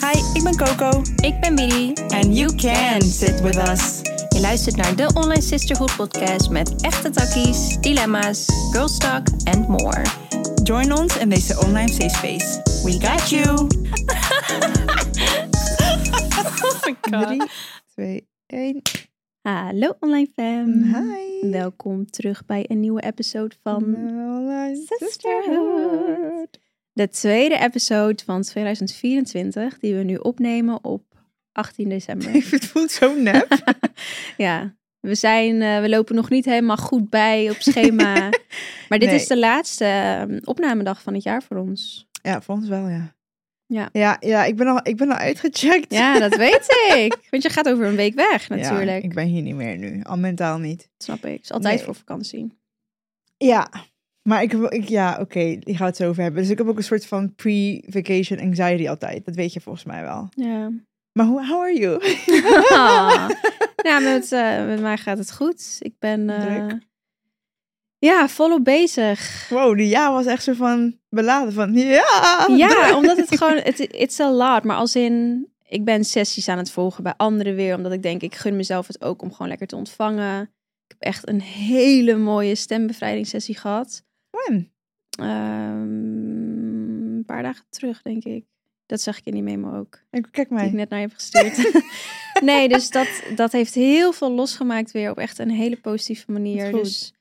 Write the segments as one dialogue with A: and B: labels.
A: Hi, ik ben Coco.
B: Ik ben Miri.
A: And you can sit with us.
B: Je luistert naar de Online Sisterhood podcast met echte takkies, dilemma's, girl talk and more.
A: Join ons in deze online safe space. We got you.
B: Oh my god.
A: 2, 1.
B: Hallo online fam.
A: Mm, Hi. Mm.
B: Welkom terug bij een nieuwe episode
A: Um,
B: van
A: Online
B: Sisterhood. de tweede episode van 2024 die we nu opnemen op 18 december.
A: het voelt zo nep.
B: Ja, we, zijn, eh, we lopen nog niet helemaal goed bij op schema. maar dit
A: Nee.
B: is de laatste eh, opnamedag van het jaar voor ons.
A: ja, voor ons wel, ja.
B: Ja.
A: Ja, ja ik, ben al, ik ben al uitgecheckt.
B: Ja, dat weet ik. Want je gaat over een week weg
A: Ja,
B: natuurlijk.
A: ik ben hier niet meer nu. Al mentaal niet.
B: Dat snap ik. Is altijd
A: Nee.
B: voor vakantie.
A: Ja. Maar ik, wil- ik ja, oké, die gaan we het zo over hebben. Dus ik heb ook een soort van pre-vacation anxiety altijd. Dat weet je volgens mij wel.
B: Ja.
A: Maar hoe, how are you?
B: Ah. ja, met, eh, met mij gaat het goed. Ik ben eh,
A: Druk.
B: ja, volop bezig.
A: Wow, die ja was echt zo van beladen van ja.
B: ja, omdat het gewoon, het it's a lot. Maar als in, ik ben sessies aan het volgen bij anderen weer. Omdat ik denk, ik gun mezelf het ook om gewoon lekker te ontvangen. Ik heb echt een hele mooie stembevrijdingssessie gehad.
A: When?
B: Ehm, een paar dagen terug, denk ik. Dat zag ik in die memo ook.
A: Ik- Kijk
B: die
A: mij.
B: ik net naar je heb gestuurd. nee, dus dat, dat heeft heel veel losgemaakt weer op echt een hele positieve manier.
A: Wat goed.
B: Dus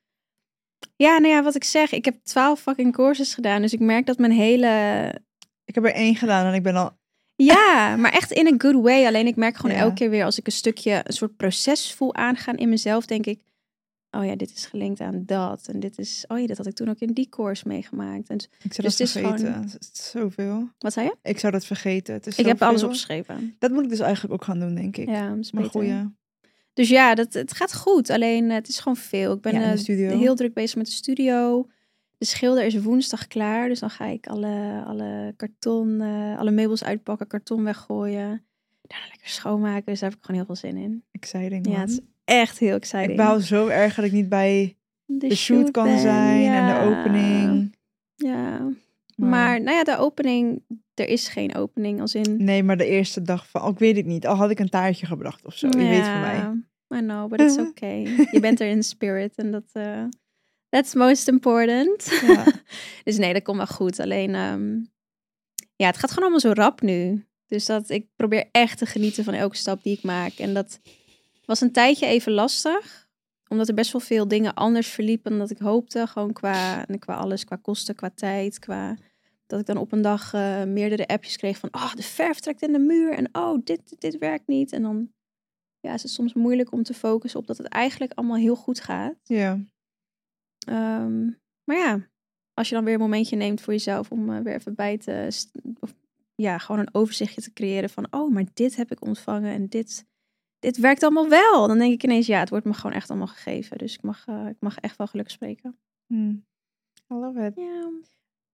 B: ja, nou ja, wat ik zeg, ik heb twaalf fucking courses gedaan. Dus ik merk dat mijn hele.
A: Ik heb er één gedaan en ik ben al.
B: Ja, maar echt in een good way. Alleen ik merk gewoon
A: Ja.
B: elke keer weer als ik een stukje, een soort proces voel aangaan in mezelf, denk ik. Oh ja, dit is gelinkt aan dat. En dit is. Oh ja, dat had ik toen ook in die course meegemaakt. En
A: Ik zou
B: Dus het
A: dat
B: is
A: vergeten.
B: gewoon-
A: Het is zoveel.
B: wat zei je?
A: Ik zou dat vergeten. Het is
B: Ik heb alles
A: zoveel.
B: opgeschreven.
A: Dat moet ik dus eigenlijk ook gaan doen, denk ik.
B: Ja, dat is
A: maar
B: beter.
A: goeie.
B: Dus ja, dat, het gaat goed. Alleen eh, het is gewoon veel. Ik ben
A: Ja, in de
B: eh,
A: studio.
B: heel druk bezig met de studio. De schilder is woensdag klaar. Dus dan ga ik alle, alle karton, eh, alle meubels uitpakken, karton weggooien. Daarna lekker schoonmaken. Dus daar heb ik gewoon heel veel zin in.
A: Exciting.
B: Ja,
A: man.
B: het is echt heel exciting.
A: ik baal zo erg dat ik niet bij de shoot kan
B: ben-
A: zijn
B: ja.
A: en de opening.
B: Ja, maar... nou ja, de opening, er is geen opening als in...
A: Nee, maar de eerste dag van. oh, ik weet het niet. Al had ik een taartje gebracht of zo. Je weet van mij.
B: I know, but it's okay. je bent er in spirit en dat... eh, that's most important.
A: Ja.
B: Dus nee, dat komt wel goed. Alleen, ehm, ja, het gaat gewoon allemaal zo rap nu. Dus dat ik probeer echt te genieten van elke stap die ik maak. En dat was een tijdje even lastig, omdat er best wel veel dingen anders verliepen dan dat ik hoopte. Gewoon qua, qua alles, qua kosten, qua tijd, qua dat ik dan op een dag eh, meerdere appjes kreeg van, oh, de verf trekt in de muur en oh, dit, dit, dit werkt niet. En dan ja, is het soms moeilijk om te focussen op dat het eigenlijk allemaal heel goed gaat.
A: ja.
B: Ehm, maar ja, als je dan weer een momentje neemt voor jezelf om eh, weer even bij te. st- Of, ja, gewoon een overzichtje te creëren van. Oh, maar dit heb ik ontvangen en dit. Dit werkt allemaal wel. Dan denk ik ineens, ja, het wordt me gewoon echt allemaal gegeven. Dus ik mag, eh, ik mag echt wel geluk spreken.
A: Hm. I love it.
B: Ja.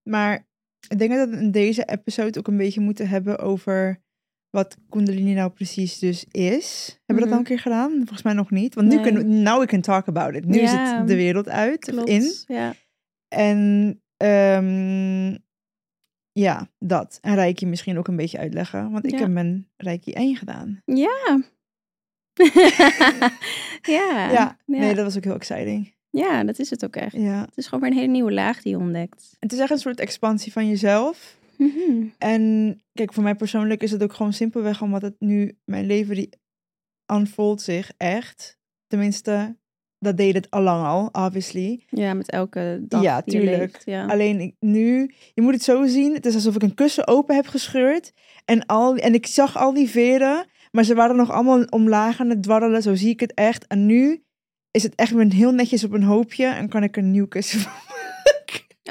A: Maar ik denk dat we in deze episode ook een beetje moeten hebben over wat Kundalini nou precies dus is. Hebben we dat al
B: Mhm.
A: een keer gedaan? Volgens mij nog niet. Want nu
B: Nee.
A: kunnen we, now we can talk about it. Nu is
B: Ja,
A: het de wereld uit, of
B: Klopt.
A: in.
B: Ja.
A: En ehm, ja, dat. En Reiki misschien ook een beetje uitleggen. Want ik
B: Ja.
A: heb mijn Reiki 1 gedaan.
B: ja.
A: ja,
B: Ja.
A: nee, dat was ook heel exciting.
B: Ja, dat is het ook echt.
A: Ja.
B: Het is gewoon weer een hele nieuwe laag die je ontdekt.
A: Het is echt een soort expansie van jezelf.
B: Mhm.
A: En kijk, voor mij persoonlijk is het ook gewoon simpelweg omdat het nu mijn leven die unfoldt zich echt. Tenminste, dat deed het allang al, obviously.
B: Ja, met elke dag
A: Ja,
B: die je
A: tuurlijk.
B: leeft. Ja,
A: Alleen ik, nu, je moet het zo zien, het is alsof ik een kussen open heb gescheurd en al en ik zag al die veren, maar ze waren nog allemaal omlaag aan het dwarrelen, zo zie ik het echt. En nu is het echt met heel netjes op een hoopje en kan ik er een nieuw kussen van.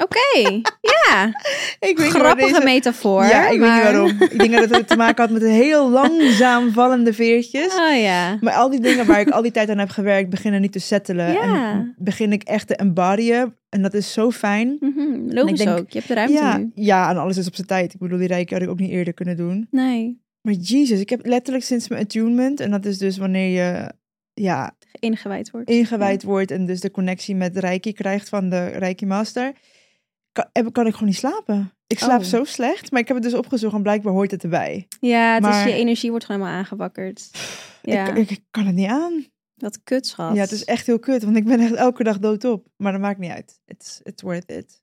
B: Oké, ja.
A: Ik weet niet waar
B: Grappige
A: deze-
B: metafoor.
A: Ja, ik
B: maar-
A: weet niet waarom. Ik denk dat het te maken had met heel langzaam vallende veertjes.
B: Oh ja.
A: Maar al die dingen waar ik al die tijd aan heb gewerkt, beginnen niet te settelen.
B: Ja.
A: En begin ik echt te embodyen. En dat is zo fijn.
B: Mhm, Logisch
A: Ik denk-
B: ook. Je hebt de ruimte
A: ja,
B: nu.
A: ja, en alles is op zijn tijd. Ik bedoel, die rijken had ik ook niet eerder kunnen doen.
B: Nee,
A: Maar Jesus, ik heb letterlijk sinds mijn attunement, en dat is dus wanneer je ja,
B: ingewijd wordt.
A: ingewijd wordt en dus de connectie met Reiki krijgt van de Reiki Master. kan, heb- kan ik gewoon niet slapen. Ik slaap
B: Oh.
A: zo slecht, maar ik heb het dus opgezocht en blijkbaar hoort het erbij.
B: Ja, dus
A: Maar-
B: je energie wordt gewoon helemaal aangewakkerd. Ja,
A: Ik, ik, ik kan het niet aan.
B: dat kut, schat.
A: Ja, het is echt heel kut, want ik ben echt elke dag doodop. Maar dat maakt niet uit. It's, it's worth it.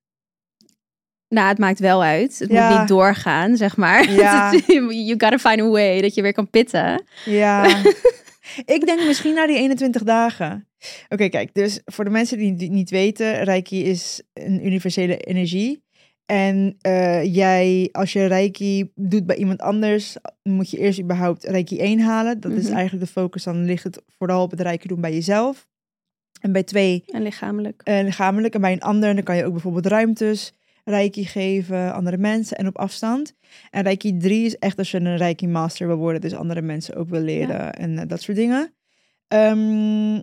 B: Nou, het maakt wel uit. Het
A: Ja.
B: moet niet doorgaan, zeg maar.
A: Ja.
B: you gotta find a way dat je weer kan pitten.
A: Ja. ik denk misschien na die 21 dagen. Oké, kijk, dus voor de mensen die het niet weten, Reiki is een universele energie. En eh, jij, als je Reiki doet bij iemand anders, moet je eerst überhaupt Reiki 1 halen. Dat is
B: Mhm.
A: eigenlijk de focus. Dan ligt het vooral op het Reiki doen bij jezelf. En bij twee
B: En lichamelijk.
A: eh, lichamelijk. En bij een ander dan kan je ook bijvoorbeeld ruimtes, reiki geven, andere mensen en op afstand. En reiki 3 is echt als je een reiki master wil worden, dus andere mensen ook wil leren en eh, dat soort dingen. Ehm,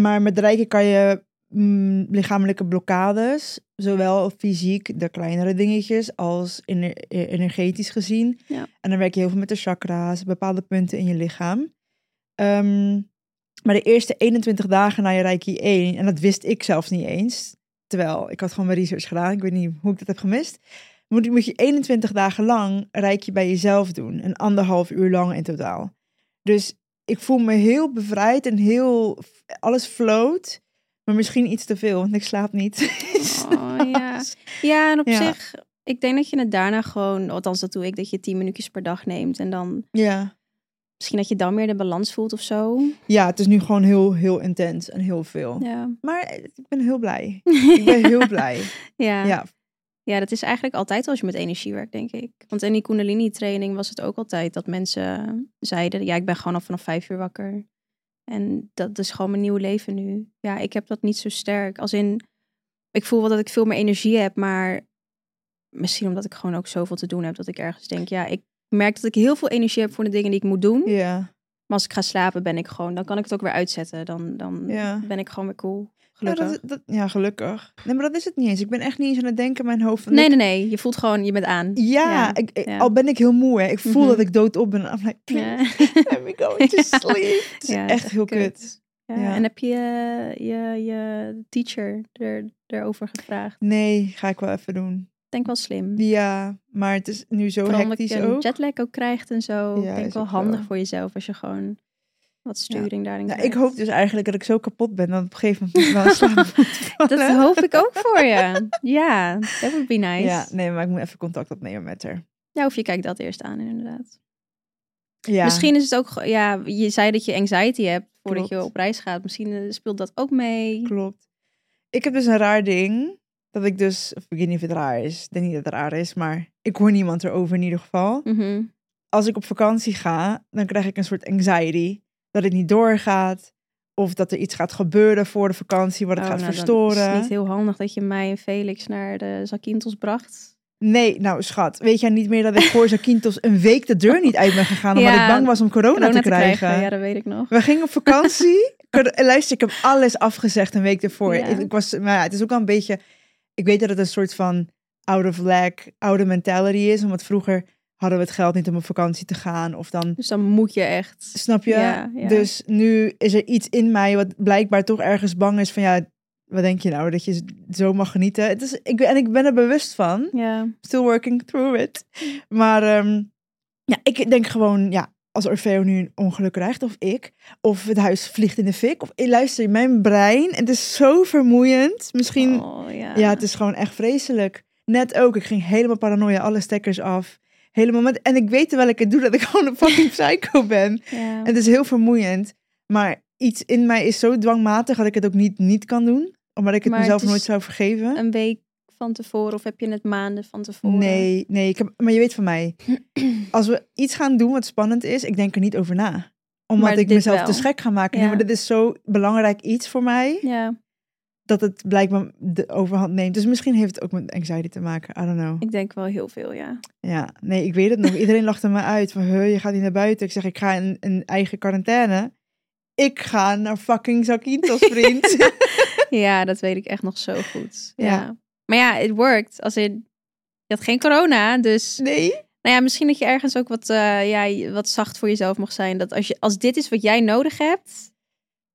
A: maar met reiki kan je mm, lichamelijke blokkades, zowel fysiek, de kleinere dingetjes, als ener- eh, energetisch gezien.
B: Ja.
A: En dan werk je heel veel met de chakra's, bepaalde punten in je lichaam. Ehm, maar de eerste 21 dagen na je Reiki 1, en dat wist ik zelfs niet eens. Terwijl ik had gewoon mijn research gedaan. Ik weet niet hoe ik dat heb gemist. Moet, je- moet je 21 dagen lang Reiki bij jezelf doen. Een anderhalf uur lang in totaal. Dus ik voel me heel bevrijd en heel... Alles float. Maar misschien iets te veel, want ik slaap niet.
B: Oh, ja. ja, en op
A: Ja.
B: zich, ik denk dat je het daarna gewoon, althans dat doe ik, dat je 10 minuutjes per dag neemt. En dan
A: ja.
B: misschien dat je dan meer de balans voelt of zo.
A: ja, het is nu gewoon heel, heel intens en heel veel.
B: Ja.
A: Maar eh, ik ben heel blij. Ik ben heel blij.
B: ja.
A: Ja,
B: Ja, dat is eigenlijk altijd als je met energie werkt, denk ik. Want in die Kundalini-training was het ook altijd dat mensen zeiden: Ja, ik ben gewoon al vanaf vijf uur wakker. En dat is gewoon mijn nieuw leven nu. Ja, ik heb dat niet zo sterk. Als in, ik voel wel dat ik veel meer energie heb, maar misschien omdat ik gewoon ook zoveel te doen heb dat ik ergens denk: Ja, ik merk dat ik heel veel energie heb voor de dingen die ik moet doen.
A: ja.
B: Maar als ik ga slapen, ben ik gewoon, dan kan ik het ook weer uitzetten. Dan, dan
A: Ja.
B: ben ik gewoon weer cool.
A: Ja,
B: Gelukkig.
A: dat, dat- ja, gelukkig. Nee, maar dat is het niet eens. Ik ben echt niet eens aan het denken in mijn hoofd. Van
B: Nee,
A: ik-
B: nee, nee. Je voelt gewoon, je bent aan.
A: Ja,
B: Ja,
A: ik, ik-
B: ja.
A: al ben ik heel moe. Hè. Ik voel
B: Mhm.
A: dat ik doodop ben. I'm like, please,
B: Ja.
A: let me go to
B: Ja.
A: sleep. Het is
B: Ja, het
A: echt,
B: is
A: heel kut.
B: Ja,
A: Ja.
B: En heb je eh, je, je teacher er, erover gevraagd?
A: Nee, ga ik wel even doen.
B: Denk wel slim.
A: Ja, maar het is nu zo
B: Vooral omdat
A: hectisch
B: je een
A: ook.
B: jetlag ook krijgt en zo.
A: Ja,
B: denk
A: is
B: wel
A: ook
B: handig
A: zo.
B: voor jezelf als je gewoon wat sturing daarin
A: Nou, ik
B: krijgt.
A: hoop dus eigenlijk dat ik zo kapot ben. Dan op een gegeven moment moet ik wel slapen.
B: Dat hoop ik ook voor je. Ja, that would be nice.
A: Ja,
B: Ja,
A: nee, maar ik moet even contact opnemen met haar.
B: of je kijkt dat eerst aan inderdaad.
A: Ja,
B: Misschien is het ook, ge- ja, je zei dat je anxiety hebt voordat
A: Klopt.
B: je op reis gaat. Misschien eh, speelt dat ook mee.
A: klopt. Ik heb dus een raar ding. Dat ik dus, of ik weet niet of het raar is. Ik denk niet dat het raar is, maar ik hoor niemand erover in ieder geval.
B: Mhm.
A: als ik op vakantie ga, dan krijg ik een soort anxiety. Dat het niet doorgaat. Of dat er iets gaat gebeuren voor de vakantie, wat het
B: Oh,
A: gaat
B: nou, dan is
A: verstoren.
B: het niet heel handig dat je mij en Felix naar de Zakintels bracht.
A: Nee, nou schat, weet jij niet meer dat ik voor Zakintos een week de deur niet uit ben gegaan omdat
B: Ja,
A: ik bang was om corona,
B: Corona
A: te krijgen?
B: Ja, dat weet ik nog.
A: We gingen op vakantie. Cor- Luister, ik heb alles afgezegd een week ervoor.
B: Ja.
A: Ik, ik was, maar ja, het is ook wel een beetje. Ik weet dat het een soort van out of lack, oude mentality is. Omdat vroeger hadden we het geld niet om op vakantie te gaan. Of dan
B: Dus dan moet je echt.
A: Snap je?
B: Ja, ja.
A: Dus nu is er iets in mij wat blijkbaar toch ergens bang is van ja, wat denk je nou dat je zo mag genieten? Het is, ik, en ik ben er bewust van.
B: Ja.
A: Still working through it.
B: Mm.
A: Maar ehm, ja, ik denk gewoon ja, als Orfeo nu een ongeluk krijgt of ik, of het huis vliegt in de fik, of eh, luister, mijn brein, het is zo vermoeiend. Misschien
B: Oh, ja.
A: ja, het is gewoon echt vreselijk. Net ook, ik ging helemaal paranoia, alle stekkers af. Helemaal met, en ik weet terwijl ik het doe dat ik gewoon een fucking psycho ben.
B: Ja.
A: En Het is heel vermoeiend, maar iets in mij is zo dwangmatig dat ik het ook niet niet kan doen. Omdat ik het
B: Maar
A: mezelf
B: het is
A: nooit zou vergeven.
B: Een week van tevoren of heb je het maanden van tevoren?
A: Nee, nee, ik heb, maar je weet van mij. Als we iets gaan doen wat spannend is, ik denk er niet over na. Omdat
B: Maar
A: ik
B: dit
A: mezelf
B: wel.
A: te schrik ga maken. Nee,
B: Ja.
A: maar dit is zo belangrijk iets voor mij,
B: Ja,
A: dat het blijkbaar de overhand neemt. Dus misschien heeft het ook met anxiety te maken. I don't know.
B: ik denk wel heel veel, ja.
A: Ja, nee, ik weet het nog. Iedereen lachte me uit van, "Huh, je gaat niet naar buiten. Ik zeg, ik ga in een eigen quarantaine. Ik ga naar fucking Zakintos, vriend.
B: ja, dat weet ik echt nog zo goed. Ja.
A: Ja.
B: Maar ja, het worked. Als in, je had geen corona, dus...
A: nee.
B: Nou ja, misschien dat je ergens ook wat, eh, ja, wat zacht voor jezelf mag zijn. Dat als, je, als dit is wat jij nodig hebt,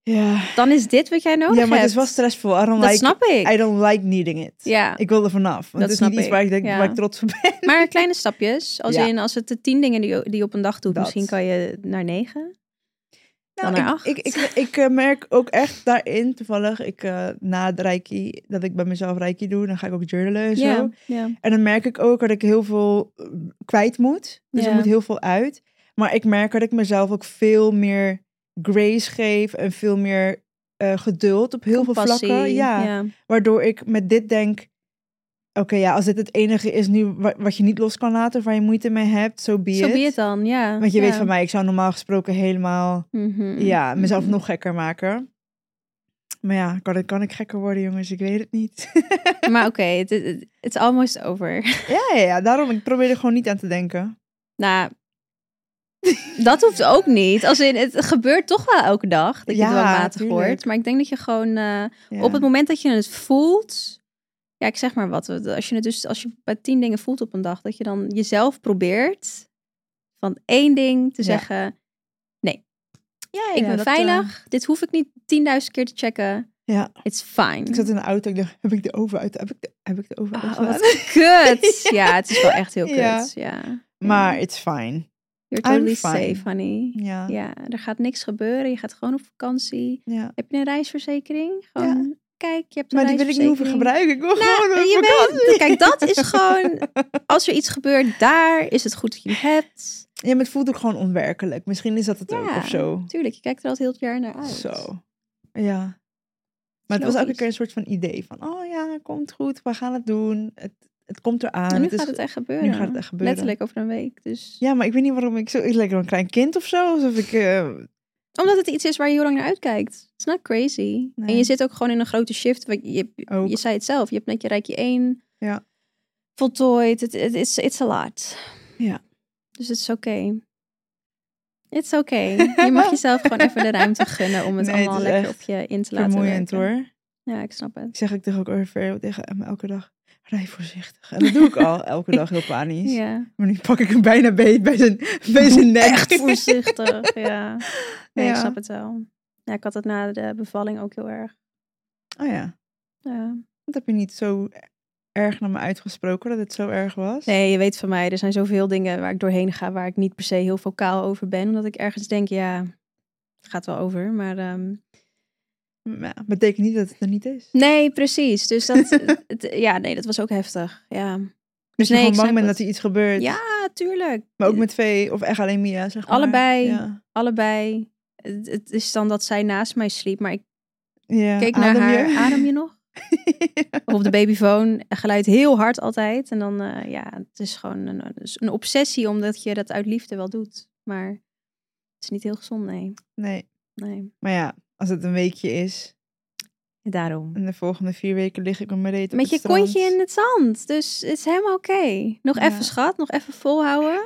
A: Ja.
B: Dan is dit wat jij nodig
A: ja, maar het is
B: hebt.
A: wel stressvol. I don't,
B: dat
A: like,
B: snap ik.
A: I don't like needing it.
B: Ja,
A: Ik wil er vanaf. Want
B: Dat
A: het is
B: snap
A: niet iets
B: ik,
A: waar ik, denk,
B: ja.
A: waar ik trots op ben.
B: maar kleine stapjes. Als,
A: Ja.
B: in, als het de tien dingen die, je- die je op een dag doet,
A: Dat.
B: misschien kan je naar negen.
A: Nou,
B: Dan naar
A: ik, ik,
B: acht.
A: ik, ik, eh, merk ook echt daarin, toevallig, ik, eh, na het reiki, dat ik bij mezelf reiki doe. Dan ga ik ook journalen en zo.
B: Ja, ja.
A: En dan merk ik ook dat ik heel veel eh, kwijt moet. Dus er
B: Ja.
A: moet heel veel uit. Maar ik merk dat ik mezelf ook veel meer grace geef en veel meer eh, geduld op heel
B: Compassie,
A: veel vlakken. Ja.
B: ja.
A: Waardoor ik met dit denk. Oké, ja, als dit het enige is nu wa- wat, je niet los kan laten, of waar je moeite mee hebt, zo so be
B: Zo
A: it.
B: be it dan, ja.
A: Want je
B: ja.
A: weet van mij, ik zou normaal gesproken helemaal
B: Mhm.
A: ja, mezelf
B: Mhm.
A: nog gekker maken. Maar ja, kan, kan ik gekker worden, jongens? Ik weet het niet.
B: Maar oké, het is it's almost over.
A: ja, ja, ja, daarom ik probeer er gewoon niet aan te denken.
B: Nou, dat hoeft ook niet. Als in, het gebeurt toch wel elke dag dat je het
A: Ja,
B: wel matig
A: tuurlijk.
B: wordt. Maar ik denk dat je gewoon eh,
A: Ja.
B: op het moment dat je het voelt... Ja, ik zeg maar wat. Als je het dus als je bij tien dingen voelt op een dag, dat je dan jezelf probeert van één ding te
A: Ja.
B: zeggen:
A: Ja,
B: ik
A: ja,
B: ben
A: dat,
B: veilig.
A: eh,
B: Dit hoef ik niet tienduizend keer te checken.
A: ja,
B: It's fine.
A: ik zat in de auto. Ik dacht, heb ik de oven uit? Heb ik de, heb ik de oven
B: Oh,
A: uitgedaan?
B: wat kut. ja, het is wel echt heel kut.
A: Ja.
B: Ja.
A: Maar it's fine.
B: You're
A: I'm
B: totally
A: fine.
B: safe, honey.
A: Ja, ja.
B: Ja, er gaat niks gebeuren. Je gaat gewoon op vakantie. Heb je een reisverzekering? Gewoon, kijk, je hebt een
A: Maar die wil ik niet hoeven gebruiken.
B: reisverzekering.
A: Ik wil
B: Nou,
A: gewoon een
B: je
A: vakantie.
B: weet, kijk, dat is gewoon, als er iets gebeurt daar, is het goed dat je het hebt.
A: Ja, maar het voelt ook gewoon onwerkelijk. Misschien is dat het ook
B: Ja.
A: of zo.
B: Tuurlijk, je kijkt er al het hele jaar naar uit.
A: Zo. Ja. Maar het was elke
B: Logisch.
A: keer een soort van idee van, oh ja, komt goed, we gaan het doen. Het, het komt eraan.
B: En Nou, nu
A: is-
B: gaat het echt gebeuren.
A: nu gaat het echt gebeuren.
B: Letterlijk over een week. Dus.
A: Ja, maar ik weet niet waarom ik zo, ik lijk wel een klein kind of zo. Alsof ik, eh,
B: Omdat het iets is waar je heel lang naar uitkijkt. It's not crazy.
A: Nee.
B: En je zit ook gewoon in een grote shift. want Je, je,
A: Ook.
B: je zei het zelf, je hebt net je rijkje 1
A: Ja.
B: voltooid. Het het is it's a lot.
A: Ja.
B: Dus het is oké. It's oké. Je mag jezelf gewoon even de ruimte gunnen om het
A: Nee, het
B: allemaal
A: is
B: lekker
A: echt
B: op je in te laten
A: vermoeiend
B: werken.
A: hoor.
B: Ja, ik snap het.
A: Ik zeg ik tegen ook even tegen Emma elke dag, rij voorzichtig. En dat doe ik al, elke dag heel panisch.
B: Ja.
A: Maar nu pak ik hem bijna beet bij zijn, bij zijn nek.
B: Echt voorzichtig. ja. Nee, ik
A: Ja.
B: snap het wel. Ja, ik had het na de bevalling ook heel erg.
A: Oh ja,
B: Ja.
A: dat heb je niet zo erg naar me uitgesproken dat het zo erg was.
B: Nee, je weet van mij, er zijn zoveel dingen waar ik doorheen ga waar ik niet per se heel vocaal over ben. Omdat ik ergens denk, ja, het gaat wel over. Maar ehm,
A: Maar ja, betekent niet dat het er niet is.
B: nee, precies. Dus dat, het- ja, nee, dat was ook heftig. Ja,
A: Dus je
B: Nee, ik
A: gewoon bang
B: snap
A: bent
B: het.
A: dat er iets gebeurt.
B: ja tuurlijk.
A: Maar ook met V of echt alleen Mia, zeg maar.
B: Allebei.
A: Ja.
B: Allebei. Het, het is dan dat zij naast mij sliep, maar ik
A: ja.
B: keek
A: adem
B: naar
A: je?
B: haar. Adem je nog? Of op de babyfoon. Geluid heel hard altijd. En dan, eh, ja, het is gewoon een, een obsessie omdat je dat uit liefde wel doet. Maar het is niet heel gezond, nee.
A: nee,
B: Nee,
A: maar ja, als het een weekje is
B: daarom.
A: en de volgende vier weken lig ik met mijn reet op
B: Met je
A: het strand.
B: kontje in het zand. Dus het is helemaal oké. Nog
A: Ja.
B: even schat, nog even volhouden.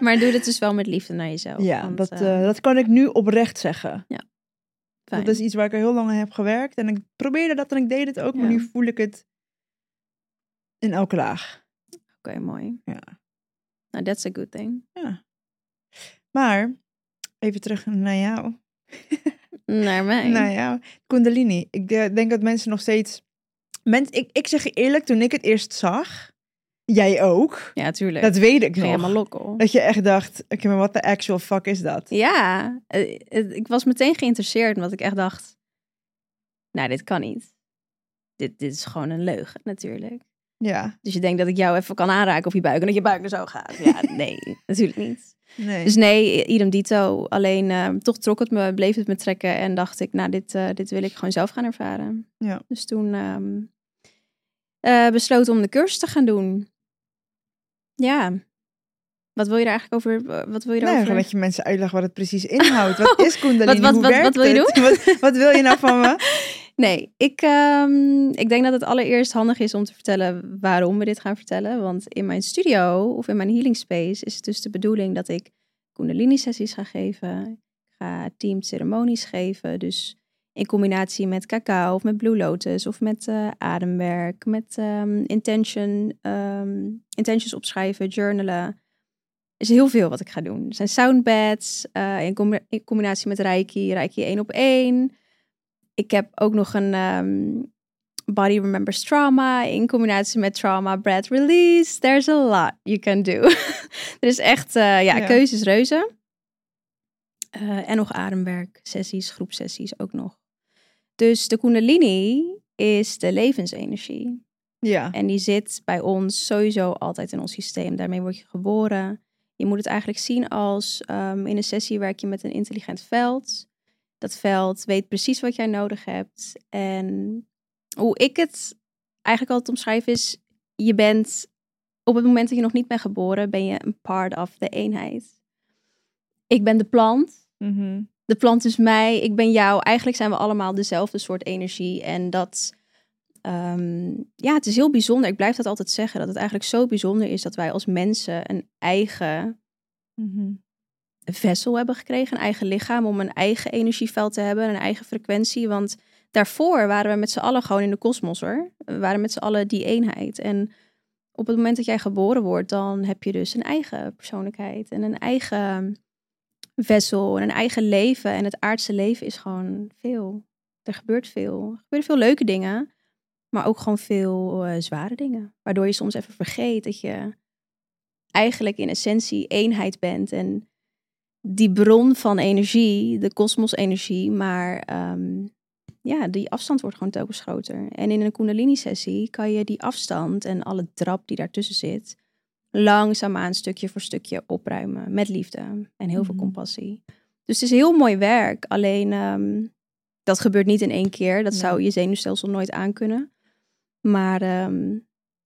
B: maar doe dit dus wel met liefde naar jezelf.
A: Ja,
B: want,
A: dat,
B: eh,
A: eh, dat kan ik nu oprecht zeggen.
B: fijn.
A: Dat is iets waar ik er heel lang aan heb gewerkt. En ik probeerde dat en ik deed het ook. Maar
B: Ja.
A: nu voel ik het in elke laag.
B: Oké, mooi.
A: Ja.
B: Nou, that's a good thing.
A: Maar, even terug naar jou.
B: Naar mij.
A: Nou ja, Kundalini. Ik eh, denk dat mensen nog steeds... Mens, ik, ik zeg je eerlijk, toen ik het eerst zag... Jij ook.
B: Ja, tuurlijk.
A: Dat weet ik
B: Eh, ging helemaal
A: nog.
B: lokkel.
A: Dat je echt dacht, oké, maar wat de actual fuck is dat?
B: Ja, eh, eh, ik was meteen geïnteresseerd omdat ik echt dacht... Nou, dit kan niet. Dit, dit is gewoon een leugen, natuurlijk.
A: Ja,
B: Dus je denkt dat ik jou even kan aanraken op je buik en dat je buik er zo gaat. Ja, nee, natuurlijk niet.
A: nee.
B: Dus nee, idem dito. Alleen eh, toch trok het me, bleef het me trekken en dacht ik, nou, dit, eh, dit wil ik gewoon zelf gaan ervaren.
A: Ja.
B: Dus toen ehm eh, besloot om de cursus te gaan doen. Ja. Wat wil je er eigenlijk over? Wat wil
A: Nou,
B: je daarover?
A: gewoon dat je mensen uitlegt wat het precies inhoudt. Wat is Kundalini?
B: Oh. Wat- wat-
A: Hoe
B: wat-
A: werkt
B: wat wil je
A: het? Wat, wat wil je nou van me?
B: Nee, ik, ehm, ik denk dat het allereerst handig is om te vertellen waarom we dit gaan vertellen. Want in mijn studio of in mijn healing space is het dus de bedoeling dat ik kundalini-sessies ga geven. Ik ga team ceremonies geven. Dus in combinatie met cacao of met blue lotus of met eh, ademwerk, met ehm, intention, ehm, intentions opschrijven, journalen. is heel veel wat ik ga doen. Er zijn soundbeds eh, in, combi- in combinatie met Reiki, Reiki 1 op 1. Ik heb ook nog een ehm, Body Remembers Trauma in combinatie met Trauma Breath Release. There's a lot you can do. er is echt, eh, ja,
A: Ja.
B: keuzes reuze. Eh, en nog ademwerk, sessies, groepsessies ook nog. Dus de Kundalini is de levensenergie.
A: Ja.
B: En die zit bij ons sowieso altijd in ons systeem. Daarmee word je geboren. Je moet het eigenlijk zien als ehm, in een sessie werk je met een intelligent veld. Dat veld weet precies wat jij nodig hebt. En hoe ik het eigenlijk altijd omschrijf is, je bent op het moment dat je nog niet bent geboren, ben je een part of de eenheid. Ik ben de plant,
A: Mhm.
B: de plant is mij, ik ben jou. Eigenlijk zijn we allemaal dezelfde soort energie. En dat, ehm, ja, het is heel bijzonder. Ik blijf dat altijd zeggen, dat het eigenlijk zo bijzonder is dat wij als mensen een eigen
A: Mhm.
B: vessel hebben gekregen, een eigen lichaam, om een eigen energieveld te hebben, een eigen frequentie. Want daarvoor waren we met z'n allen gewoon in de kosmos hoor. We waren met z'n allen die eenheid. En op het moment dat jij geboren wordt, dan heb je dus een eigen persoonlijkheid en een eigen vessel en een eigen leven. En het aardse leven is gewoon veel. Er gebeurt veel. Er gebeuren veel leuke dingen, maar ook gewoon veel eh, zware dingen. Waardoor je soms even vergeet dat je eigenlijk in essentie eenheid bent en die bron van energie, de kosmosenergie, maar ehm, ja, die afstand wordt gewoon telkens groter. En in een Kundalini-sessie kan je die afstand en alle drap die daartussen zit, langzaamaan stukje voor stukje opruimen. Met liefde en heel veel
A: Mhm.
B: compassie. Dus het is heel mooi werk. Alleen ehm, dat gebeurt niet in één keer. Dat
A: Nee.
B: zou je zenuwstelsel nooit aankunnen. Maar ehm,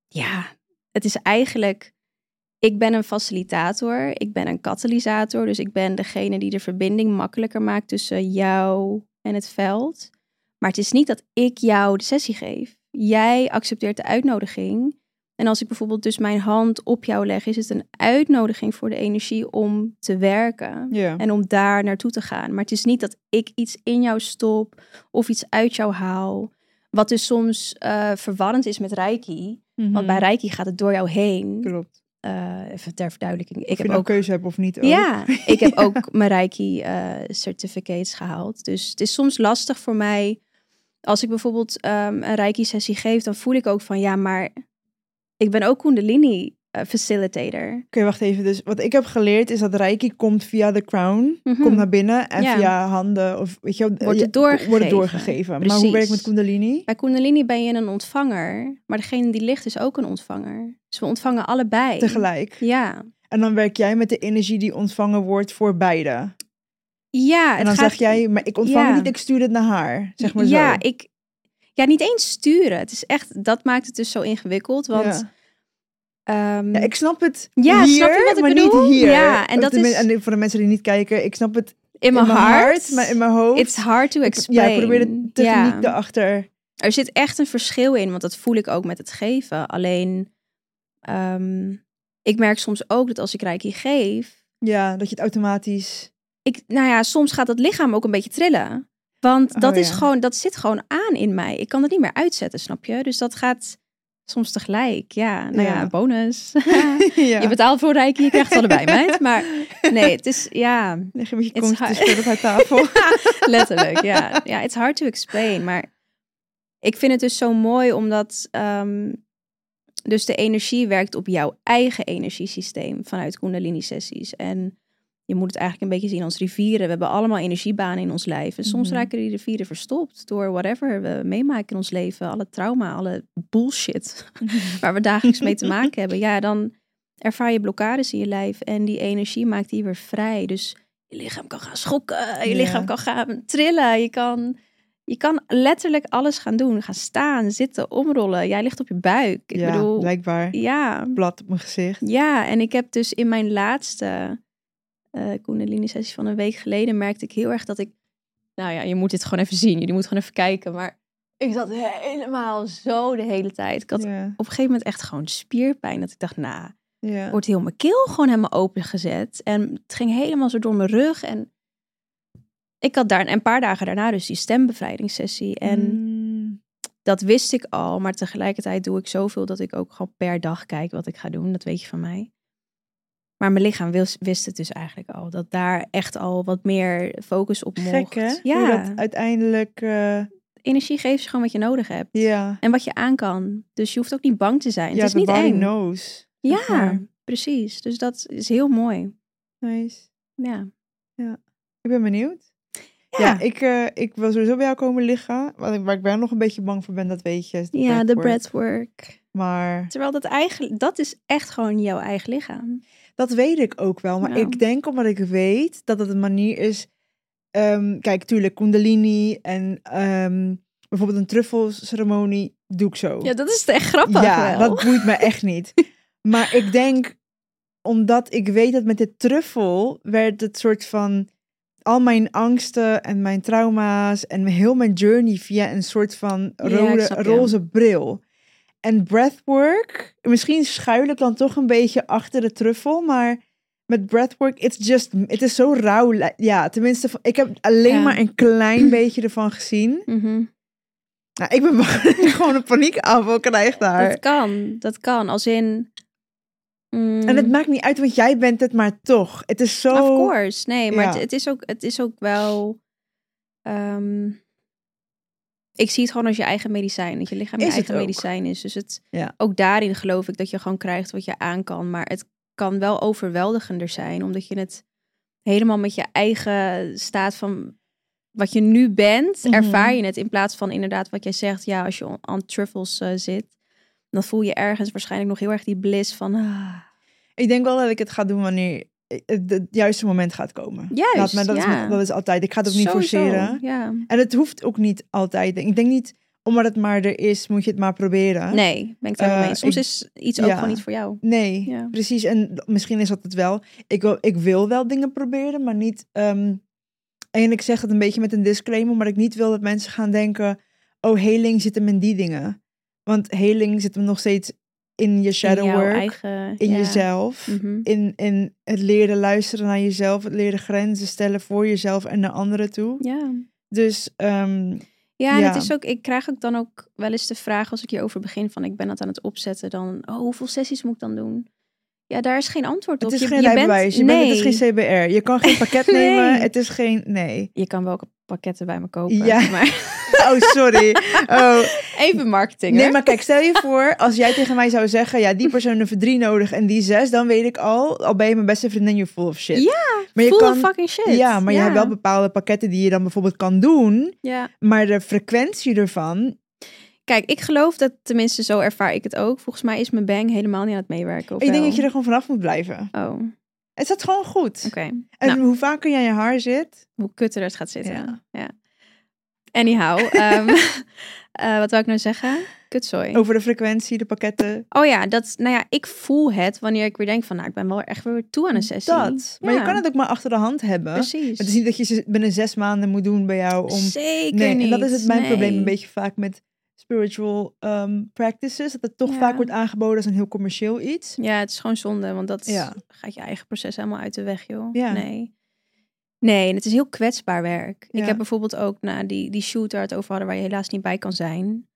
B: ja, het is eigenlijk. Ik ben een facilitator, ik ben een katalysator. Dus ik ben degene die de verbinding makkelijker maakt tussen jou en het veld. Maar het is niet dat ik jou de sessie geef. Jij accepteert de uitnodiging. En als ik bijvoorbeeld dus mijn hand op jou leg, is het een uitnodiging voor de energie om te werken.
A: Ja.
B: En om daar naartoe te gaan. Maar het is niet dat ik iets in jou stop of iets uit jou haal. Wat dus soms eh, verwarrend is met Reiki. Want
A: Mm.
B: bij Reiki gaat het door jou heen.
A: Mhm. Klopt.
B: Eh, even ter verduidelijking.
A: Ik
B: Ik
A: heb je
B: heb
A: nou
B: ook
A: keuze hebt of niet. ook.
B: ja, ik heb ook mijn Reiki eh, certificates gehaald. Dus het is soms lastig voor mij. Als ik bijvoorbeeld ehm, een Reiki-sessie geef, dan voel ik ook van ja, maar ik ben ook eh, Kundalini-facilitator.
A: Oké, wacht even. Dus wat ik heb geleerd is dat Reiki komt via de crown. Komt naar binnen en
B: Hm. Ja.
A: via handen of weet je wel,
B: Wordt het
A: ja, Wordt
B: doorgegeven.
A: het doorgegeven. Maar hoe werkt het
B: Precies.
A: met Kundalini?
B: Bij Kundalini ben je een ontvanger, maar degene die ligt is ook een ontvanger. Dus we ontvangen allebei.
A: Tegelijk.
B: Ja.
A: En dan werk jij met de energie die ontvangen wordt voor beide. En
B: Ja, het
A: dan
B: gaat...
A: zeg jij, maar ik ontvang
B: Ja.
A: het niet, ik stuur het naar haar. Zeg maar
B: ja,
A: zo.
B: ik. Ja, niet eens sturen. Het is echt, dat maakt het dus zo ingewikkeld. Want
A: ja.
B: ehm,
A: Ja, ik snap het
B: Ja,
A: hier,
B: snap je wat ik
A: maar
B: bedoel?
A: niet hier.
B: Ja, en
A: Of
B: dat
A: tenmin-
B: is-
A: en voor de mensen die niet kijken, ik snap het
B: in mijn hart,
A: maar in mijn hoofd.
B: it's hard to
A: Ik-
B: explain.
A: Ja, ik probeer de
B: Ja.
A: techniek erachter.
B: Er zit echt een verschil in, want dat voel ik ook met het geven. Alleen, ehm, ik merk soms ook dat als ik reiki geef,
A: Ja, dat je het automatisch...
B: ik, nou ja, soms gaat dat lichaam ook een beetje trillen. Want dat
A: Oh,
B: is
A: ja.
B: gewoon, dat zit gewoon aan in mij. Ik kan dat niet meer uitzetten, snap je? Dus dat gaat soms tegelijk. Ja, nou ja,
A: Ja.
B: bonus.
A: ja.
B: Je betaalt voor Reiki, je krijgt het allebei, meid. Maar nee, het is, ja,
A: Leg een beetje
B: It's
A: constant
B: hard.
A: spelen op haar tafel.
B: letterlijk, ja. Ja, it's hard to explain, maar ik vind het dus zo mooi omdat ehm, dus de energie werkt op jouw eigen energiesysteem vanuit Kundalini-sessies. En je moet het eigenlijk een beetje zien als rivieren. We hebben allemaal energiebanen in ons lijf. En soms
A: Mhm.
B: raken die rivieren verstopt door whatever we meemaken in ons leven. Alle trauma, alle bullshit waar we dagelijks mee te maken hebben, ja, dan ervaar je blokkades in je lijf en die energie maakt die weer vrij. Dus je lichaam kan gaan schokken, je
A: Ja.
B: lichaam kan gaan trillen, je kan, je kan letterlijk alles gaan doen. Gaan staan, zitten, omrollen. Jij ligt op je buik. Ik
A: ja,
B: bedoel,
A: blijkbaar.
B: ja,
A: Blad op mijn gezicht.
B: ja. En ik heb dus in mijn laatste eh Kundalini-sessie van een week geleden merkte ik heel erg dat ik, nou ja, je moet dit gewoon even zien. Jullie moeten gewoon even kijken, maar ik zat helemaal zo de hele tijd. Ik had
A: Ja,
B: op een gegeven moment echt gewoon spierpijn. Dat ik dacht, nou,
A: ja.
B: wordt heel mijn keel gewoon helemaal opengezet. En het ging helemaal zo door mijn rug. En ik had daar en een paar dagen daarna dus die stembevrijdingssessie. En
A: Mm,
B: dat wist ik al. Maar tegelijkertijd doe ik zoveel dat ik ook gewoon per dag kijk wat ik ga doen. Dat weet je van mij. Maar mijn lichaam wist, wist het dus eigenlijk al. Dat daar echt al wat meer focus op mocht.
A: Gek, hè? Hoe
B: Ja,
A: dat uiteindelijk... eh,
B: energie geeft je gewoon wat je nodig hebt.
A: ja.
B: En wat je aan kan. Dus je hoeft ook niet bang te zijn.
A: ja,
B: het is
A: the
B: niet
A: body
B: eng.
A: knows. zeg
B: Ja,
A: maar.
B: precies. Dus dat is heel mooi.
A: Nice.
B: Ja.
A: Ik ben benieuwd. Ja, ik, eh, ik wil sowieso bij jou komen liggen. Waar ik, waar ik wel nog een beetje bang voor ben, dat weet je. is de
B: Ja, de
A: breathwork.
B: breathwork.
A: Maar
B: Terwijl dat eigenlijk, dat is echt gewoon jouw eigen lichaam.
A: dat weet ik ook wel. Maar
B: Ja.
A: ik denk omdat ik weet dat het een manier is. ehm, kijk, tuurlijk, kundalini en ehm, bijvoorbeeld een truffelceremonie doe ik zo.
B: Ja, dat is echt grappig
A: Ja,
B: wel.
A: dat boeit me echt niet. Maar ik denk, omdat ik weet dat met de truffel werd het soort van al mijn angsten en mijn trauma's en heel mijn journey via een soort van
B: Ja, ik
A: rode,
B: snap je.
A: roze bril. En breathwork, misschien schuil ik dan toch een beetje achter de truffel, maar met breathwork, it's just, het is zo rauw. li- Ja, tenminste, van- ik heb alleen
B: Ja.
A: maar een klein beetje ervan gezien.
B: Mhm.
A: Nou, ik ben bang dat ik gewoon een paniekaanval krijg daar.
B: Dat kan, dat kan. Als in... mm,
A: En het maakt niet uit, want jij bent het maar toch. Het is zo...
B: Of course, nee, maar
A: Ja.
B: het, het is ook, het is ook wel... ehm, ik zie het gewoon als je eigen medicijn. Dat je lichaam je
A: Is het
B: eigen
A: ook.
B: medicijn is. Dus het,
A: Ja.
B: ook daarin geloof ik dat je gewoon krijgt wat je aan kan. Maar het kan wel overweldigender zijn. Omdat je het helemaal met je eigen staat van... Wat je nu bent,
A: Mhm.
B: ervaar je het. In plaats van inderdaad wat jij zegt. Ja, als je on- aan truffles eh, zit. Dan voel je ergens waarschijnlijk nog heel erg die bliss van... ah,
A: Ik denk wel dat ik het ga doen wanneer het, het juiste moment gaat komen.
B: Juist,
A: Laat me- dat, is,
B: ja.
A: me- dat is altijd. Ik ga het ook niet
B: sowieso,
A: forceren.
B: Ja.
A: En het hoeft ook niet altijd. Ik denk niet, omdat het maar er is, moet je het maar proberen.
B: Nee, ben ik daar wel
A: Eh,
B: mee. Soms
A: ik-
B: is iets ook
A: ja.
B: gewoon niet voor jou.
A: Nee,
B: Ja.
A: precies. En d- misschien is dat het wel. Ik wil, ik wil wel dingen proberen, maar niet... ehm, en ik zeg het een beetje met een disclaimer, maar ik niet wil dat mensen gaan denken... Oh, heling zit hem in die dingen. Want heling zit hem nog steeds in je shadow
B: in jouw
A: work.
B: eigen,
A: in
B: ja.
A: jezelf.
B: Mhm.
A: In, in het leren luisteren naar jezelf. Het leren grenzen stellen voor jezelf en naar anderen toe.
B: Ja.
A: Dus ehm,
B: Ja,
A: Ja.
B: en het is ook, ik krijg ook dan ook wel eens de vraag als ik hierover begin van ik ben het aan het opzetten, dan oh, hoeveel sessies moet ik dan doen? Ja, daar is geen antwoord op.
A: het is
B: Je-
A: geen
B: je bent-
A: rijbewijs. Je bent, het is geen CBR. Je kan geen pakket
B: Nee.
A: nemen. Het is geen... Nee.
B: Je kan welke pakketten bij me kopen.
A: Ja.
B: Maar
A: Oh, sorry. Oh.
B: even marketing.
A: Nee,
B: hoor.
A: maar kijk, stel je voor, als jij tegen mij zou zeggen... Ja, die persoon heeft er drie nodig en die zes. Dan weet ik al, al ben je mijn beste vriendin, you're full of shit.
B: Ja,
A: maar
B: full of fucking shit.
A: Ja, maar je hebt wel bepaalde pakketten die je dan bijvoorbeeld kan doen.
B: Ja.
A: Maar de frequentie ervan...
B: Kijk, ik geloof dat tenminste zo ervaar ik het ook. Volgens mij is mijn bang helemaal niet aan het meewerken. Of
A: Ik denk
B: wel?
A: dat je er gewoon vanaf moet blijven.
B: Oh, oké.
A: Het zat gewoon goed. En hoe vaker je aan je haar zit.
B: hoe kutter Nou. het gaat zitten.
A: Ja.
B: Ja. Anyhow, ehm, eh, wat wou ik nou zeggen? Kutzooi.
A: Over de frequentie, de pakketten.
B: Oh ja, dat, nou ja, ik voel het wanneer ik weer denk van, nou, ik ben wel echt weer toe aan een sessie.
A: Dat. Maar je
B: Ja.
A: kan het ook maar achter de hand hebben.
B: Precies.
A: Het is niet dat je ze binnen zes maanden moet doen bij jou. Om...
B: Zeker
A: nee,
B: niet.
A: en dat is het mijn
B: Nee.
A: probleem een beetje vaak met spiritual ehm, practices. Dat het toch
B: Ja.
A: vaak wordt aangeboden als een heel commercieel iets.
B: Ja, het is gewoon zonde, want dat
A: Ja.
B: gaat je eigen proces helemaal uit de weg, joh.
A: Ja.
B: Nee. Nee, en het is heel kwetsbaar werk.
A: Ja.
B: Ik heb bijvoorbeeld ook na die, die shoot waar we het over hadden, waar je helaas niet bij kan zijn.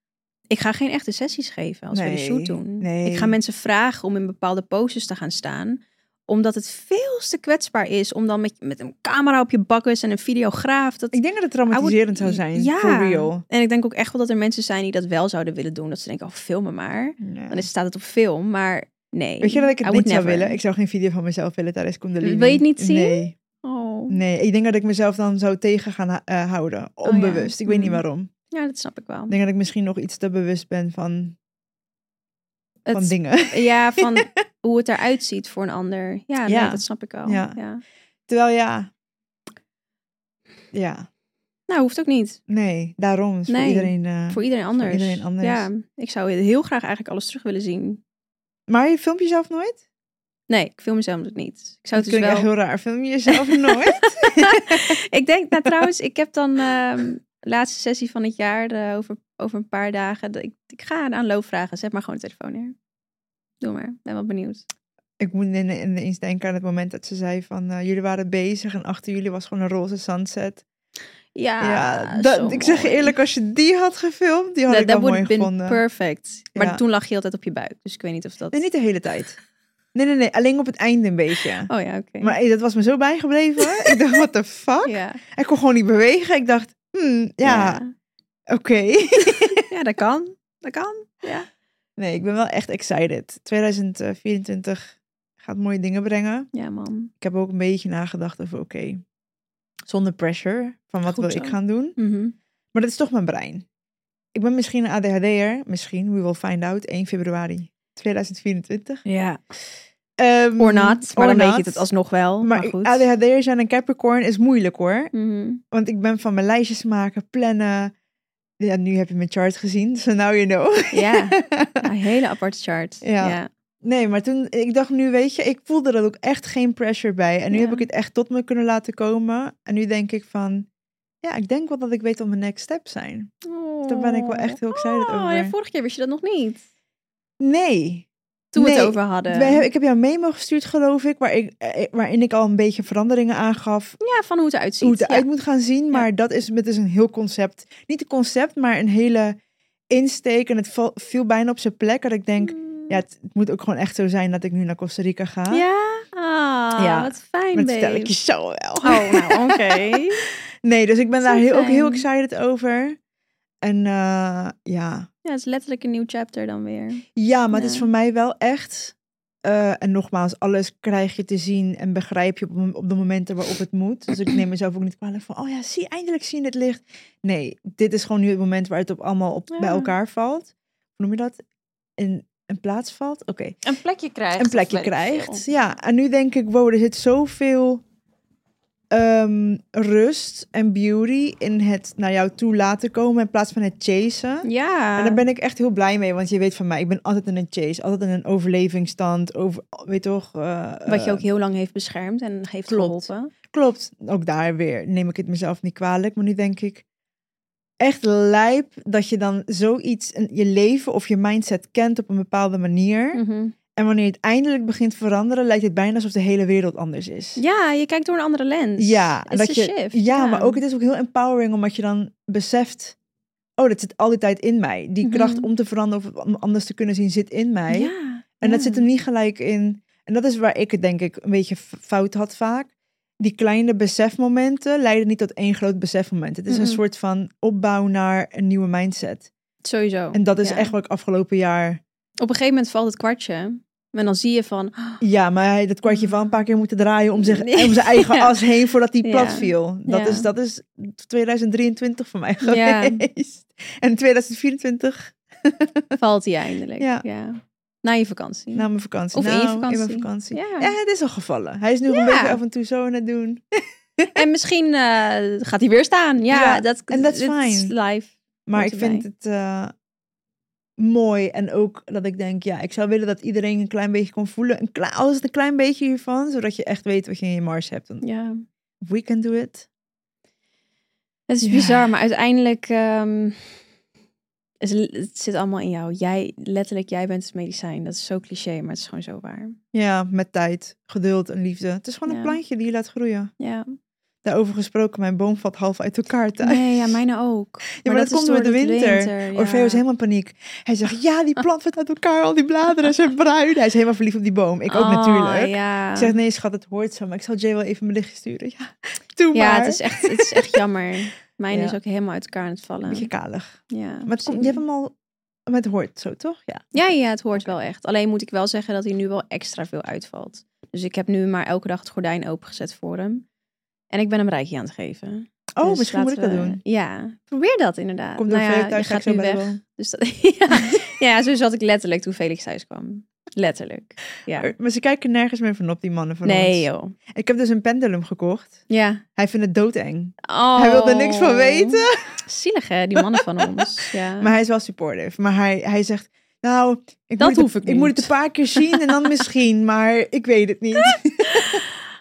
B: Ik ga geen echte sessies geven als we de
A: Nee,
B: shoot doen.
A: nee.
B: Ik ga mensen vragen om in bepaalde poses te gaan staan. Omdat het veel te kwetsbaar is om dan met, met een camera op je bakkes en een videograaf. Dat,
A: Ik denk dat het
B: I would-
A: traumatiserend zou zijn.
B: Ja.
A: For real.
B: En ik denk ook echt wel dat er mensen zijn die dat wel zouden willen doen. Dat ze denken, oh, filmen maar.
A: Ja.
B: Dan is- staat het op film, maar nee.
A: Weet je dat ik het
B: I would
A: niet zou
B: never.
A: willen? Ik zou geen video van mezelf willen tijdens Kundalini.
B: Wil je het niet zien?
A: Nee.
B: Oh.
A: nee. Ik denk dat ik mezelf dan zou tegen gaan eh, houden.
B: ja.
A: Onbewust. Ik weet niet
B: Mm.
A: waarom.
B: Ja, dat snap ik wel.
A: Ik denk dat ik misschien nog iets te bewust ben van,
B: Het-
A: van dingen.
B: ja, van hoe het eruit ziet voor een ander. Ja, nee,
A: Ja.
B: dat snap ik wel.
A: Ja.
B: Ja.
A: Terwijl ja. Ja,
B: Nou, hoeft ook niet.
A: nee, daarom. is Voor
B: Nee.
A: iedereen. eh,
B: Voor iedereen anders.
A: iedereen anders.
B: Ja, ik zou heel graag eigenlijk alles terug willen zien.
A: Maar je filmt jezelf nooit?
B: Nee, ik film mezelf natuurlijk niet. Ik zou
A: Dat vind
B: het dus
A: ik echt
B: wel...
A: heel raar. Film je jezelf nooit?
B: ik denk, nou trouwens, ik heb dan ehm, laatste sessie van het jaar eh, over, over een paar dagen. dat Ik, ik ga een aanloop vragen. Zet maar gewoon de telefoon neer. Doe maar. Ben wel benieuwd.
A: ik moet in, in, eens denken aan het moment dat ze zei van... eh, jullie waren bezig en achter jullie was gewoon een roze sunset.
B: Ja,
A: ja, dat-
B: Ah, zo
A: ik zeg je
B: mooi.
A: eerlijk, als je die had gefilmd, die had Oh,
B: Dat
A: ik wel
B: dat would
A: mooi
B: have been
A: gevonden.
B: perfect. Maar
A: Ja.
B: toen lag je altijd op je buik. Dus ik weet niet of dat...
A: Nee, niet de hele tijd. Nee, nee, nee. Alleen op het einde een beetje.
B: Oh ja, oké.
A: Maar hey, dat was me zo bijgebleven. hoor. ik dacht, what the fuck?
B: ja.
A: Hij kon gewoon niet bewegen. Ik dacht, hmm, ja,
B: ja.
A: oké.
B: Ja, dat kan. Dat kan. Ja.
A: Nee, ik ben wel echt excited. 2024 gaat mooie dingen brengen.
B: Ja, man.
A: Ik heb ook een beetje nagedacht over, oké, zonder pressure van wat
B: Goed
A: wil
B: zo.
A: ik gaan doen.
B: Mhm.
A: Maar dat is toch mijn brein. Ik ben misschien een ADHD'er, misschien, we will find out, 1 februari 2024.
B: Ja.
A: Ehm,
B: Or not.
A: or
B: Maar dan weet je
A: not.
B: het alsnog wel. Maar,
A: Maar
B: goed.
A: ADHD'er zijn een Capricorn is moeilijk hoor.
B: Mhm.
A: Want ik ben van mijn lijstjes maken, plannen. Ja, nu heb je mijn chart gezien, so now you know.
B: Ja. Een hele aparte chart.
A: Ja. Nee, maar toen, ik dacht nu, weet je, ik voelde er ook echt geen pressure bij. En nu
B: Ja.
A: heb ik het echt tot me kunnen laten komen. En nu denk ik van, ja, ik denk wel dat ik weet wat mijn next steps zijn. Daar ben ik wel echt heel excited
B: oh,
A: over.
B: ja, vorige keer wist je dat nog niet.
A: Nee.
B: Toen we
A: Nee,
B: het over hadden.
A: Wij hebben- ik heb jou een memo gestuurd, geloof ik, waar ik, eh, waarin ik al een beetje veranderingen aangaf.
B: Ja, van hoe het eruit ziet.
A: hoe het eruit
B: ja.
A: moet gaan zien. Maar dat is, het is een heel concept. Niet een concept, maar een hele insteek. En het val- viel bijna op zijn plek. Dat ik
B: Mm.
A: denk, ja, het, het moet ook gewoon echt zo zijn dat ik nu naar Costa Rica ga.
B: Ja? Ah,
A: Ja.
B: wat fijn,
A: maar dat
B: babe.
A: vertel ik je zo wel.
B: Oh, nou, oké.
A: Nee, dus ik ben
B: Zo
A: daar heel, ook heel
B: fijn.
A: excited over. En eh, ja.
B: ja, het is letterlijk een nieuw chapter dan weer.
A: Ja, maar het is
B: Ja.
A: voor mij wel echt. eh, en nogmaals, alles krijg je te zien en begrijp je op, op de momenten waarop het moet. Dus ik neem mezelf ook niet kwalijk van, oh ja, zie, eindelijk zien het licht. Nee, dit is gewoon nu het moment waar het op allemaal op,
B: Ja.
A: bij elkaar valt. Hoe noem je dat? In een plaats valt? Oké.
C: Een plekje krijgt.
A: een plekje
C: of weet ik
A: krijgt.
C: veel.
A: Ja, en nu denk ik, wow, er zit zoveel ehm, rust en beauty in het naar jou toe laten komen in plaats van het chasen.
B: Ja.
A: En daar ben ik echt heel blij mee, want je weet van mij, ik ben altijd in een chase, altijd in een overlevingsstand, over, weet toch? eh,
B: Wat je
A: eh,
B: ook heel lang heeft beschermd en heeft
A: Klopt.
B: geholpen.
A: Klopt, ook daar weer neem ik het mezelf niet kwalijk, maar nu denk ik echt lijp dat je dan zoiets, in je leven of je mindset kent op een bepaalde manier.
B: Mhm.
A: En wanneer het eindelijk begint te veranderen, lijkt het bijna alsof de hele wereld anders is.
B: Ja, je kijkt door een andere lens.
A: Ja, en
B: It's
A: dat
B: a
A: je,
B: shift,
A: ja,
B: ja.
A: maar ook het is ook heel empowering omdat je dan beseft, oh, dat zit al die tijd in mij. Die
B: Mhm.
A: kracht om te veranderen of om anders te kunnen zien zit in mij.
B: Ja.
A: En dat
B: ja.
A: zit hem niet gelijk in. En dat is waar ik het denk ik een beetje f- fout had vaak. Die kleine besefmomenten leiden niet tot één groot besefmoment. Het is
B: Mhm.
A: een soort van opbouw naar een nieuwe mindset.
B: Sowieso.
A: En dat is
B: Ja.
A: echt wat ik afgelopen jaar.
B: Op een gegeven moment valt het kwartje. En dan zie je van... ah,
A: Ja, maar hij heeft dat kwartje wel een paar keer moeten draaien om, zich,
B: Mm. Nee.
A: om zijn eigen
B: Ja.
A: as heen voordat hij
B: Ja.
A: plat viel. Dat,
B: Ja.
A: is, dat is 2023 voor mij
B: Ja.
A: geweest. En 2024
B: valt hij eindelijk.
A: Ja.
B: Ja. Na je vakantie.
A: na mijn vakantie.
B: Of in je
A: Nou, In mijn
B: vakantie.
A: vakantie.
B: Ja.
A: Ja, het is al gevallen. Hij is nu gewoon een
B: Ja.
A: beetje af en toe zo aan het doen.
B: En misschien eh, gaat hij weer staan. Ja,
A: Ja,
B: dat
A: and that's
B: dat is
A: fine.
B: live.
A: Maar
B: Hoort
A: ik vind het eh, mooi en ook dat ik denk, ja, ik zou willen dat iedereen een klein beetje kon voelen. Een klein, alles een klein beetje hiervan, zodat je echt weet wat je in je mars hebt. Want
B: Ja.
A: We can do it.
B: Het is
A: Ja.
B: bizar, maar uiteindelijk ehm, het, het zit allemaal in jou. Jij, letterlijk, jij bent het medicijn. Dat is zo cliché, maar het is gewoon zo waar.
A: Ja, met tijd, geduld en liefde. Het is gewoon een
B: Ja.
A: plantje die je laat groeien.
B: Ja.
A: Daarover gesproken, mijn boom valt half uit elkaar thuis.
B: Nee, ja, mijne ook.
A: maar dat komt
B: door
A: met de
B: het
A: winter.
B: ja.
A: Orfeo is helemaal in paniek. Hij zegt, ja, die plant valt uit elkaar, al die bladeren zijn bruin. Hij is helemaal verliefd op die boom. Ik ook
B: Oh,
A: natuurlijk.
B: Ja.
A: Ik zeg, nee schat, het hoort zo, maar ik zal Jay wel even een berichtje sturen. Ja, doe maar.
B: ja, het is echt, het is echt jammer. Mijn
A: Ja.
B: is ook helemaal uit elkaar aan het
A: Een
B: vallen.
A: beetje kalig.
B: Ja,
A: Maar het komt, je
B: precies.
A: hebt hem al met hoort zo, toch? Ja.
B: Ja, ja, het hoort wel echt. Alleen moet ik wel zeggen dat hij nu wel extra veel uitvalt. Dus ik heb nu maar elke dag het gordijn opengezet voor hem. En ik ben hem rijkje aan het geven.
A: Oh,
B: Dus
A: misschien moet ik dat
B: laten we-
A: doen.
B: Ja, probeer dat inderdaad.
A: Komt door
B: nou ja,
A: Felix thuis,
B: je
A: ga ik
B: gaat
A: zo
B: nu
A: bij de
B: weg.
A: bal.
B: Dus dat, ja, ja, zo zat ik letterlijk toen Felix thuis kwam. Letterlijk. Ja.
A: Maar ze kijken nergens meer van op, die mannen van
B: Nee,
A: ons.
B: joh.
A: Ik heb dus een pendulum gekocht.
B: Ja.
A: Hij vindt het doodeng.
B: Oh.
A: Hij wil er niks van weten.
B: Zielig, hè, die mannen van ons. Ja.
A: Maar hij is wel supportive. Maar hij, hij zegt, nou, ik,
B: Dat
A: moet, het,
B: hoef ik
A: ik moet het
B: niet.
A: een paar keer zien en dan misschien. Maar ik weet het niet.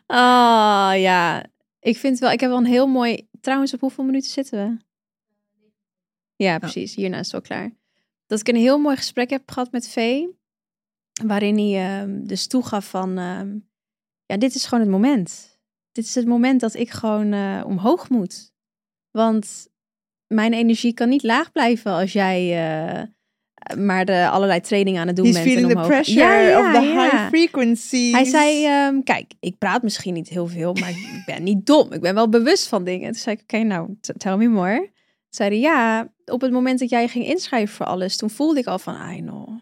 B: Ah, ja. Ik vind wel, ik heb wel een heel mooi... Trouwens, op hoeveel minuten zitten we? Ja, precies. Hierna is het wel klaar. Dat ik een heel mooi gesprek heb gehad met Vee. Waarin hij ehm, dus toegaf van... ehm, ja, dit is gewoon het moment. Dit is het moment dat ik gewoon eh, omhoog moet. Want mijn energie kan niet laag blijven als jij... eh, maar de allerlei trainingen aan het doen
A: He's
B: bent. en
A: feeling the
B: omhoog-
A: pressure of the high frequency.
B: Hij zei, ehm, kijk, ik praat misschien niet heel veel, maar ik ben niet dom. Ik ben wel bewust van dingen. Toen zei ik, oké, nou, t- tell me more. Toen zei hij, ja, op het moment dat jij ging inschrijven voor alles, toen voelde ik al van, ah, no,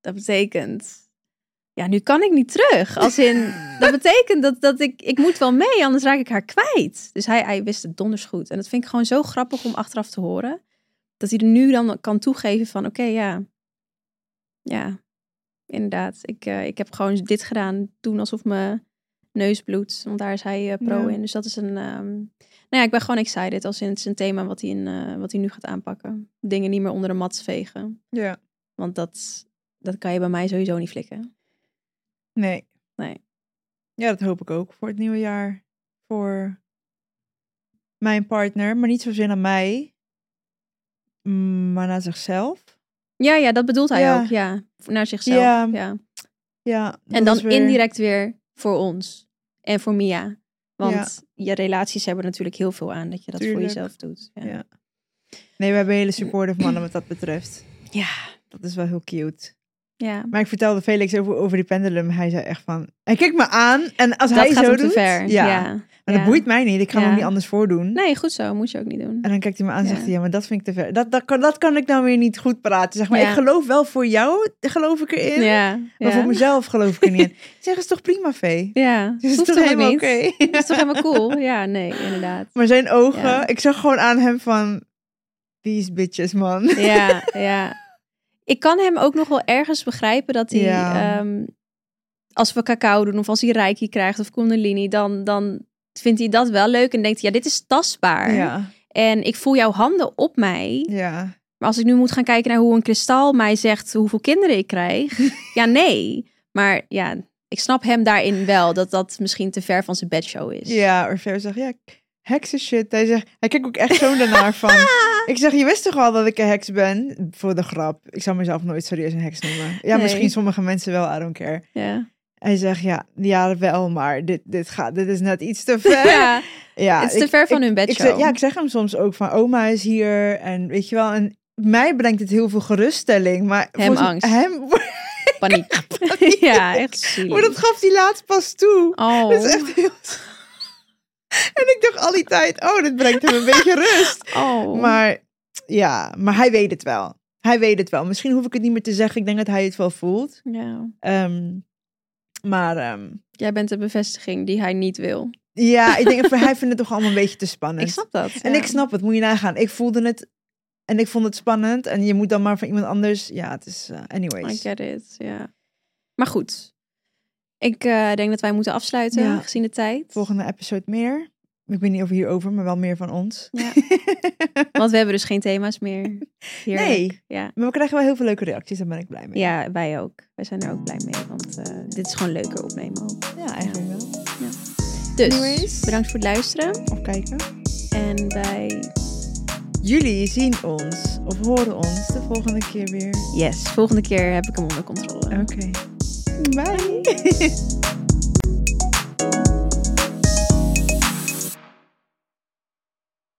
B: dat betekent... Ja, nu kan ik niet terug. Als in, dat betekent dat, dat ik, ik moet wel mee, anders raak ik haar kwijt. Dus hij, hij wist het donders goed. En dat vind ik gewoon zo grappig om achteraf te horen. Dat hij er nu dan kan toegeven van, oké, ja. Ja, inderdaad. Ik, eh, ik heb gewoon dit gedaan, doen alsof mijn neus bloedt. Want daar is hij eh, pro
A: Ja.
B: in. Dus dat is een... ehm, Nou ja, ik ben gewoon excited. Als in het is een thema wat hij, in, eh, wat hij nu gaat aanpakken. Dingen niet meer onder de mat vegen.
A: Ja.
B: Want dat, dat kan je bij mij sowieso niet flikken.
A: Nee.
B: Nee.
A: Ja, dat hoop ik ook voor het nieuwe jaar. Voor mijn partner, maar niet zozeer naar mij, mm, maar naar zichzelf.
B: Ja, ja, dat bedoelt hij
A: Ja.
B: ook. Ja, naar zichzelf.
A: Ja.
B: ja.
A: Ja, dat
B: En dan
A: is weer-
B: indirect weer voor ons en voor Mia. Want je relaties hebben er natuurlijk heel veel aan dat je dat
A: Tuurlijk.
B: voor jezelf doet. Ja.
A: Ja. Nee, we hebben hele supportive mannen wat dat betreft.
B: Ja.
A: Dat is wel heel cute.
B: Ja.
A: Maar ik vertelde Felix over, over die pendulum. Hij zei echt van... Hij kijkt me aan en als
B: dat
A: hij
B: gaat
A: zo
B: hem
A: doet...
B: te ver.
A: Ja,
B: Ja.
A: maar dat
B: ja.
A: boeit mij niet. Ik ga hem
B: Ja.
A: niet anders voordoen.
B: Nee, goed zo. Moet je ook niet doen.
A: En dan kijkt hij me aan en
B: Ja.
A: zegt hij, ja, maar dat vind ik te ver. Dat, dat, kan, dat kan ik nou weer niet goed praten. Zeg maar,
B: Ja.
A: ik geloof wel voor jou, geloof ik erin.
B: Ja.
A: Maar voor
B: Ja.
A: mezelf geloof ik er niet in. Ik Zeg, is toch prima, Vee?
B: ja.
A: Is
B: Hoeft
A: toch
B: helemaal
A: helemaal
B: niet?
A: oké?
B: Is toch helemaal cool? Ja, nee, inderdaad.
A: Maar zijn ogen,
B: Ja.
A: ik zag gewoon aan hem van... These bitches, man.
B: Ja, ja. Ik kan hem ook nog wel ergens begrijpen dat hij,
A: Ja.
B: ehm, als we cacao doen of als hij reiki krijgt of kundalini, dan, dan vindt hij dat wel leuk en denkt hij, ja, dit is tastbaar.
A: Ja,
B: En ik voel jouw handen op mij.
A: ja.
B: Maar als ik nu moet gaan kijken naar hoe een kristal mij zegt hoeveel kinderen ik krijg. ja, nee. Maar ja, ik snap hem daarin wel dat dat misschien te ver van zijn bedshow is.
A: Ja, Orfeo zegt, ja, heksen shit. Hij, zegt, hij kijkt ook echt zo daarnaar van... Ik zeg, je wist toch al dat ik een heks ben? Voor de grap. Ik zou mezelf nooit serieus een heks noemen. Ja,
B: Nee.
A: misschien sommige mensen wel, I don't care.
B: Ja.
A: Hij zegt, ja, ja wel, maar dit, dit, gaat, dit is net iets te ver.
B: Ja,
A: Ja,
B: het is te
A: ik-
B: ver
A: ik-
B: van
A: ik
B: hun
A: zeg,
B: bedshow.
A: ja, ik zeg hem soms ook van oma is hier en weet je wel. En mij brengt het heel veel geruststelling, maar
B: Hem
A: volgens-
B: angst.
A: Hem,
B: Paniek. ja, echt zielig.
A: maar dat gaf hij laatst pas toe.
B: Oh.
A: Dat is echt heel. en ik dacht al die tijd, oh, dit brengt hem een beetje rust.
B: oh.
A: Maar ja, maar hij weet het wel. Hij weet het wel. Misschien hoef ik het niet meer te zeggen. Ik denk dat hij het wel voelt.
B: Ja.
A: Ehm, maar ehm,
B: Jij bent de bevestiging die hij niet wil.
A: ja, ik denk, hij vindt het toch allemaal een beetje te spannend.
B: Ik snap dat.
A: En
B: ja.
A: ik snap het, moet je nagaan. Ik voelde het en ik vond het spannend. En je moet dan maar van iemand anders. Ja, het is. eh,
B: I
A: anyways.
B: get it, ja. Maar goed. Ik eh, denk dat wij moeten afsluiten,
A: Ja.
B: gezien de tijd.
A: Volgende episode meer. Ik weet niet over hierover, maar wel meer van ons.
B: Ja. Want we hebben dus geen thema's meer. Heerlijk.
A: nee,
B: Ja.
A: maar we krijgen wel heel veel leuke reacties. Daar ben ik blij mee.
B: ja, wij ook. Wij zijn er ook blij mee, want eh, dit is gewoon leuker opnemen ook.
A: Ja, eigenlijk wel.
B: Dus,
A: Anyways.
B: bedankt voor het luisteren.
A: Of kijken.
B: En wij,
A: Jullie zien ons of horen ons de volgende keer weer.
B: yes, volgende keer heb ik hem onder controle.
A: Oké. Bye.